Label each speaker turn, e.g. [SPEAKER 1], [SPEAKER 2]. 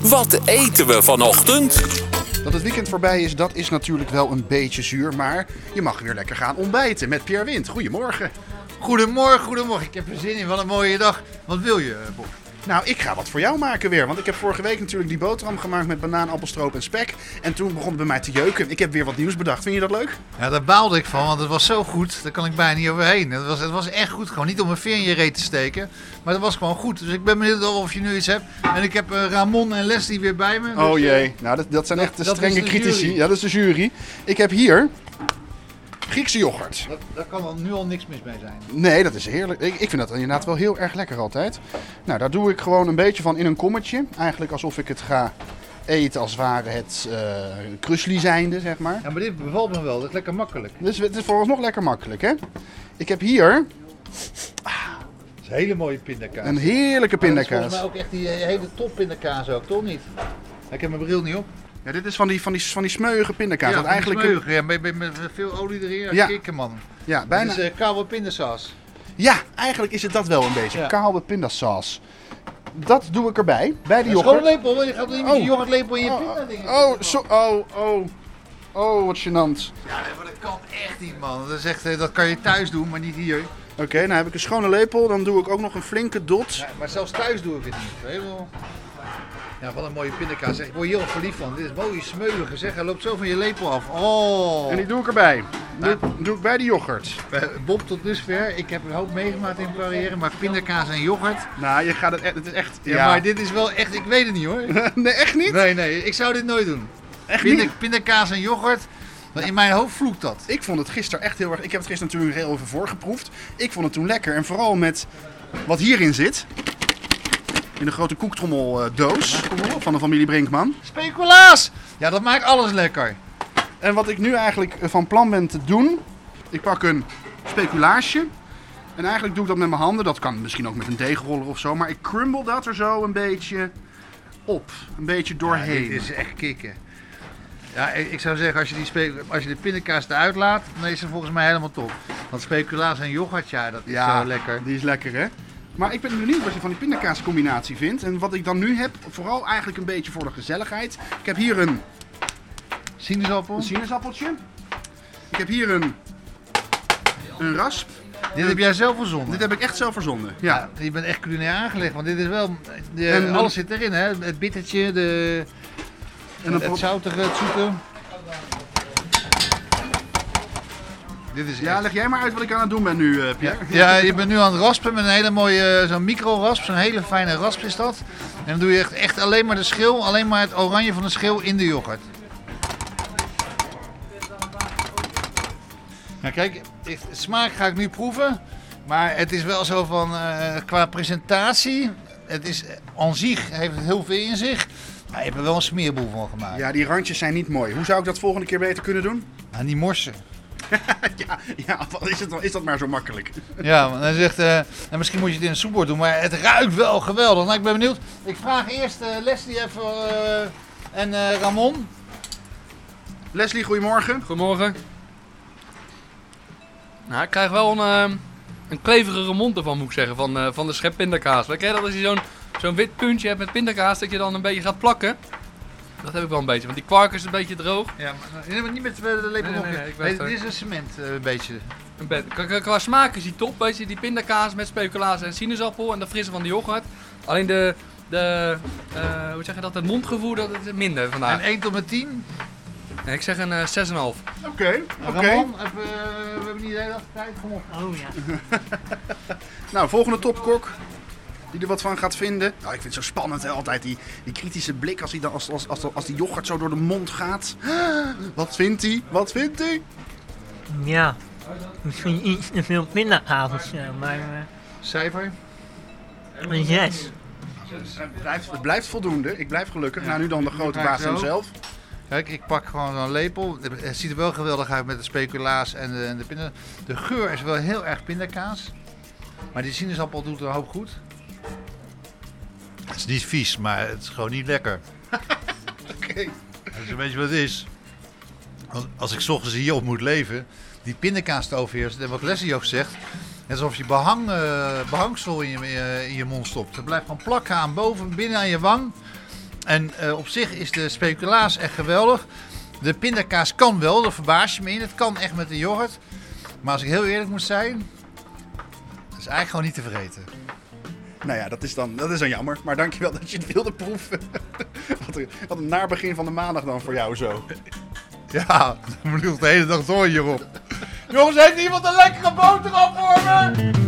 [SPEAKER 1] Wat eten we vanochtend?
[SPEAKER 2] Dat het weekend voorbij is, dat is natuurlijk wel een beetje zuur. Maar je mag weer lekker gaan ontbijten met Pierre Wind. Goedemorgen.
[SPEAKER 3] Goedemorgen, goedemorgen. Ik heb er zin in. Wat een mooie dag. Wat wil je, eh, Bob?
[SPEAKER 2] Nou, ik ga wat voor jou maken weer. Want ik heb vorige week natuurlijk die boterham gemaakt met banaan, appelstroop en spek. En toen begon het bij mij te jeuken. Ik heb weer wat nieuws bedacht. Vind je dat leuk?
[SPEAKER 3] Ja, daar baalde ik van, want het was zo goed. Daar kan ik bijna niet overheen. Het was, het was echt goed. Gewoon niet om een veer in je reet te steken. Maar dat was gewoon goed. Dus ik ben benieuwd of je nu iets hebt. En ik heb eh, Ramon en Leslie weer bij me. Dus,
[SPEAKER 2] Nou, dat, dat zijn echt de
[SPEAKER 3] dat
[SPEAKER 2] strenge
[SPEAKER 3] is de
[SPEAKER 2] critici.
[SPEAKER 3] jury.
[SPEAKER 2] Ja, dat is de jury. Ik heb hier Griekse yoghurt.
[SPEAKER 3] dat, daar kan dan nu al niks mis mee zijn.
[SPEAKER 2] Nee, dat is heerlijk. Ik, ik vind dat inderdaad wel heel erg lekker altijd. Nou, daar doe ik gewoon een beetje van in een kommetje. Eigenlijk alsof ik het ga eten als ware het eh krusli zijnde, zeg maar.
[SPEAKER 3] Ja, maar dit bevalt me wel. Dat is lekker makkelijk.
[SPEAKER 2] Dus het is voor ons nog lekker makkelijk, hè? Ik heb hier
[SPEAKER 3] Dat is een hele mooie pindakaas.
[SPEAKER 2] een heerlijke
[SPEAKER 3] Dat is volgens
[SPEAKER 2] pindakaas.
[SPEAKER 3] mij ook echt die eh, hele top pindakaas ook, toch niet? Ja, Ik heb mijn bril niet op.
[SPEAKER 2] Ja, dit is van die, van die, van die smeuige pindakaas.
[SPEAKER 3] ja,
[SPEAKER 2] dat eigenlijk een-
[SPEAKER 3] smeuig. Ja, met, met, met veel olie erin.
[SPEAKER 2] Ja.
[SPEAKER 3] Ja. Kikken, man.
[SPEAKER 2] ja,
[SPEAKER 3] Bijna.
[SPEAKER 2] bijna,
[SPEAKER 3] Dat is eh, koude pindasaas.
[SPEAKER 2] ja, eigenlijk is het dat wel een beetje.
[SPEAKER 3] Ja.
[SPEAKER 2] Koude pindasaas. Dat doe ik erbij, bij de
[SPEAKER 3] Een schone
[SPEAKER 2] yoghurt.
[SPEAKER 3] lepel, want je gaat niet met je
[SPEAKER 2] Oh.
[SPEAKER 3] yoghurtlepel in je
[SPEAKER 2] Oh,
[SPEAKER 3] pinda dingen.
[SPEAKER 2] oh, zo, oh, oh. Oh, wat gênant.
[SPEAKER 3] Ja, nee, maar dat kan echt niet, man. Dat, is echt, eh, dat kan je thuis doen, maar niet hier.
[SPEAKER 2] Oké, nou heb ik een schone lepel. Dan doe ik ook nog een flinke dot.
[SPEAKER 3] Ja, maar zelfs thuis doe ik het niet. Helemaal. Ja, wat een mooie pindakaas. zeg. Ik word hier heel verliefd van. Dit is mooie smeulige, zeg. Hij loopt zo van je lepel af. Oh.
[SPEAKER 2] En die doe ik erbij. Doe, doe ik bij de yoghurt.
[SPEAKER 3] Eh, Bob, tot dusver. Ik heb een hoop meegemaakt in mijn carrière, maar pindakaas en yoghurt.
[SPEAKER 2] Nou, je gaat het, echt- het is echt...
[SPEAKER 3] Ja, maar dit is wel echt... Ik weet het niet, hoor.
[SPEAKER 2] Nee, echt niet?
[SPEAKER 3] Nee, nee. Ik zou dit nooit doen.
[SPEAKER 2] Echt
[SPEAKER 3] Pinda-
[SPEAKER 2] niet?
[SPEAKER 3] Pindakaas en yoghurt. In mijn hoofd vloekt dat.
[SPEAKER 2] Ik vond het gisteren echt heel erg... Ik heb het gisteren natuurlijk heel even voorgeproefd. Ik vond het toen lekker. En vooral met wat hierin zit. In de grote koektrommeldoos van de familie Brinkman.
[SPEAKER 3] Speculaas! Ja, dat maakt alles lekker.
[SPEAKER 2] En wat ik nu eigenlijk van plan ben te doen... Ik pak een speculaasje. En eigenlijk doe ik dat met mijn handen. Dat kan misschien ook met een deegroller of zo. Maar ik crumble dat er zo een beetje op. Een beetje doorheen.
[SPEAKER 3] Dit is echt kicken. Ja, ik ik zou zeggen, als je, die spe- als je de pindakaas eruit laat, dan is ze volgens mij helemaal top. Want speculaas en yoghurt, ja, dat is zo lekker.
[SPEAKER 2] Die is lekker, hè? Maar ik ben benieuwd wat je van die pindakaascombinatie vindt. En wat ik dan nu heb, vooral eigenlijk een beetje voor de gezelligheid. Ik heb hier een
[SPEAKER 3] Sinaasappel.
[SPEAKER 2] sinaasappeltje. Ik heb hier een, een rasp.
[SPEAKER 3] Dit heb jij zelf verzonnen.
[SPEAKER 2] Dit heb ik echt zelf verzonden. Ja.
[SPEAKER 3] ja, je bent echt culinair aangelegd, want dit is wel... de-
[SPEAKER 2] En dan-
[SPEAKER 3] alles zit erin, hè. Het bittertje, de,
[SPEAKER 2] En dan
[SPEAKER 3] het,
[SPEAKER 2] pro-
[SPEAKER 3] zoutige, het zoete. Dit is
[SPEAKER 2] ja,
[SPEAKER 3] echt-
[SPEAKER 2] leg jij maar uit wat ik aan het doen ben nu, eh, Pierre.
[SPEAKER 3] Ja, je bent nu aan het raspen met een hele mooie, eh, zo'n micro-rasp, zo'n hele fijne rasp is dat. En dan doe je echt, echt alleen maar de schil, alleen maar het oranje van de schil in de yoghurt. Nou kijk, ik- smaak ga ik nu proeven, maar het is wel zo van, eh, qua presentatie, het is eh, aan zich, heeft het heel veel in zich. Maar je hebt er wel een smeerboel van gemaakt.
[SPEAKER 2] Ja, die randjes zijn niet mooi. Hoe zou ik dat volgende keer beter kunnen doen?
[SPEAKER 3] En die morsen.
[SPEAKER 2] ja, ja wat is, het, dan- is dat maar zo makkelijk?
[SPEAKER 3] Ja, want hij zegt, eh, en misschien moet je het in een soepbord doen, maar het ruikt wel geweldig. Nou, ik ben benieuwd. Ik vraag eerst eh, Leslie even eh, en eh, Ramon.
[SPEAKER 2] Leslie, goedemorgen.
[SPEAKER 4] Goedemorgen. Nou, ik krijg wel een, ehm, een kleverige mond ervan, moet ik zeggen, van, eh, van de schep pindakaas. Weet je dat als je zo'n zo'n wit puntje hebt met pindakaas, dat je dan een beetje gaat plakken? Dat heb ik wel een beetje, want die kwark is een beetje droog.
[SPEAKER 3] Ja, maar, nee, maar niet met eh, de lepel
[SPEAKER 4] Nee, nee,
[SPEAKER 3] nog.
[SPEAKER 4] nee,
[SPEAKER 3] in.
[SPEAKER 4] ik weet het.
[SPEAKER 3] dit is een cement eh, een beetje.
[SPEAKER 4] Een bed. Qua, qua- qua smaak is die top, weet je, die pindakaas met speculaas en sinaasappel en de frisse van de yoghurt. Alleen de, de eh, hoe zeg je dat, het mondgevoel, dat is minder
[SPEAKER 3] En
[SPEAKER 4] vandaag.
[SPEAKER 3] 1 tot met 10.
[SPEAKER 4] Nee, ik zeg een eh, 6,5.
[SPEAKER 2] Oké, oké.
[SPEAKER 3] Ramon, even, eh, we hebben niet de hele dag tijd. Kom op.
[SPEAKER 5] Oh ja.
[SPEAKER 2] Nou, volgende topkok. Die er wat van gaat vinden. Nou, ik vind het zo spannend hè, altijd. Die, die kritische blik als die, dan, als, als, als, als die yoghurt zo door de mond gaat. Wat vindt hij? Wat vindt hij?
[SPEAKER 5] Ja. Misschien iets te veel pindakaas of zo, maar eh,
[SPEAKER 3] Cijfer.
[SPEAKER 5] een zes.
[SPEAKER 2] Het blijft, het blijft voldoende. Ik blijf gelukkig. Nou, nu dan de grote
[SPEAKER 3] Kijk
[SPEAKER 2] baas
[SPEAKER 3] zo.
[SPEAKER 2] hemzelf.
[SPEAKER 3] Kijk, ik pak gewoon zo'n lepel. Het ziet er wel geweldig uit met de speculaas en de, en de pinda. De geur is wel heel erg pindakaas. Maar die sinaasappel doet er een hoop goed. Het is niet vies, maar het is gewoon niet lekker.
[SPEAKER 2] Oké.
[SPEAKER 3] Dat is een beetje wat het is. Want als ik 's ochtends hierop moet leven, die pindakaas te overheersen, en wat Leslie ook zegt, net alsof je behang, eh, behangsel in je, eh, in je mond stopt. Het blijft gewoon plakken aan boven, binnen aan je wang. En eh, op zich is de speculaas echt geweldig. De pindakaas kan wel, daar verbaas je me in. Het kan echt met de yoghurt. Maar als ik heel eerlijk moet zijn, dat is eigenlijk gewoon niet te vergeten.
[SPEAKER 2] Nou ja, dat is dan, dat is dan jammer. Maar dankjewel dat je het wilde proeven. wat, een, wat een naar begin van de maandag dan voor jou zo.
[SPEAKER 3] Ja, dan moet ik nog de hele dag door hierop. Jongens, heeft iemand een lekkere boterham voor me?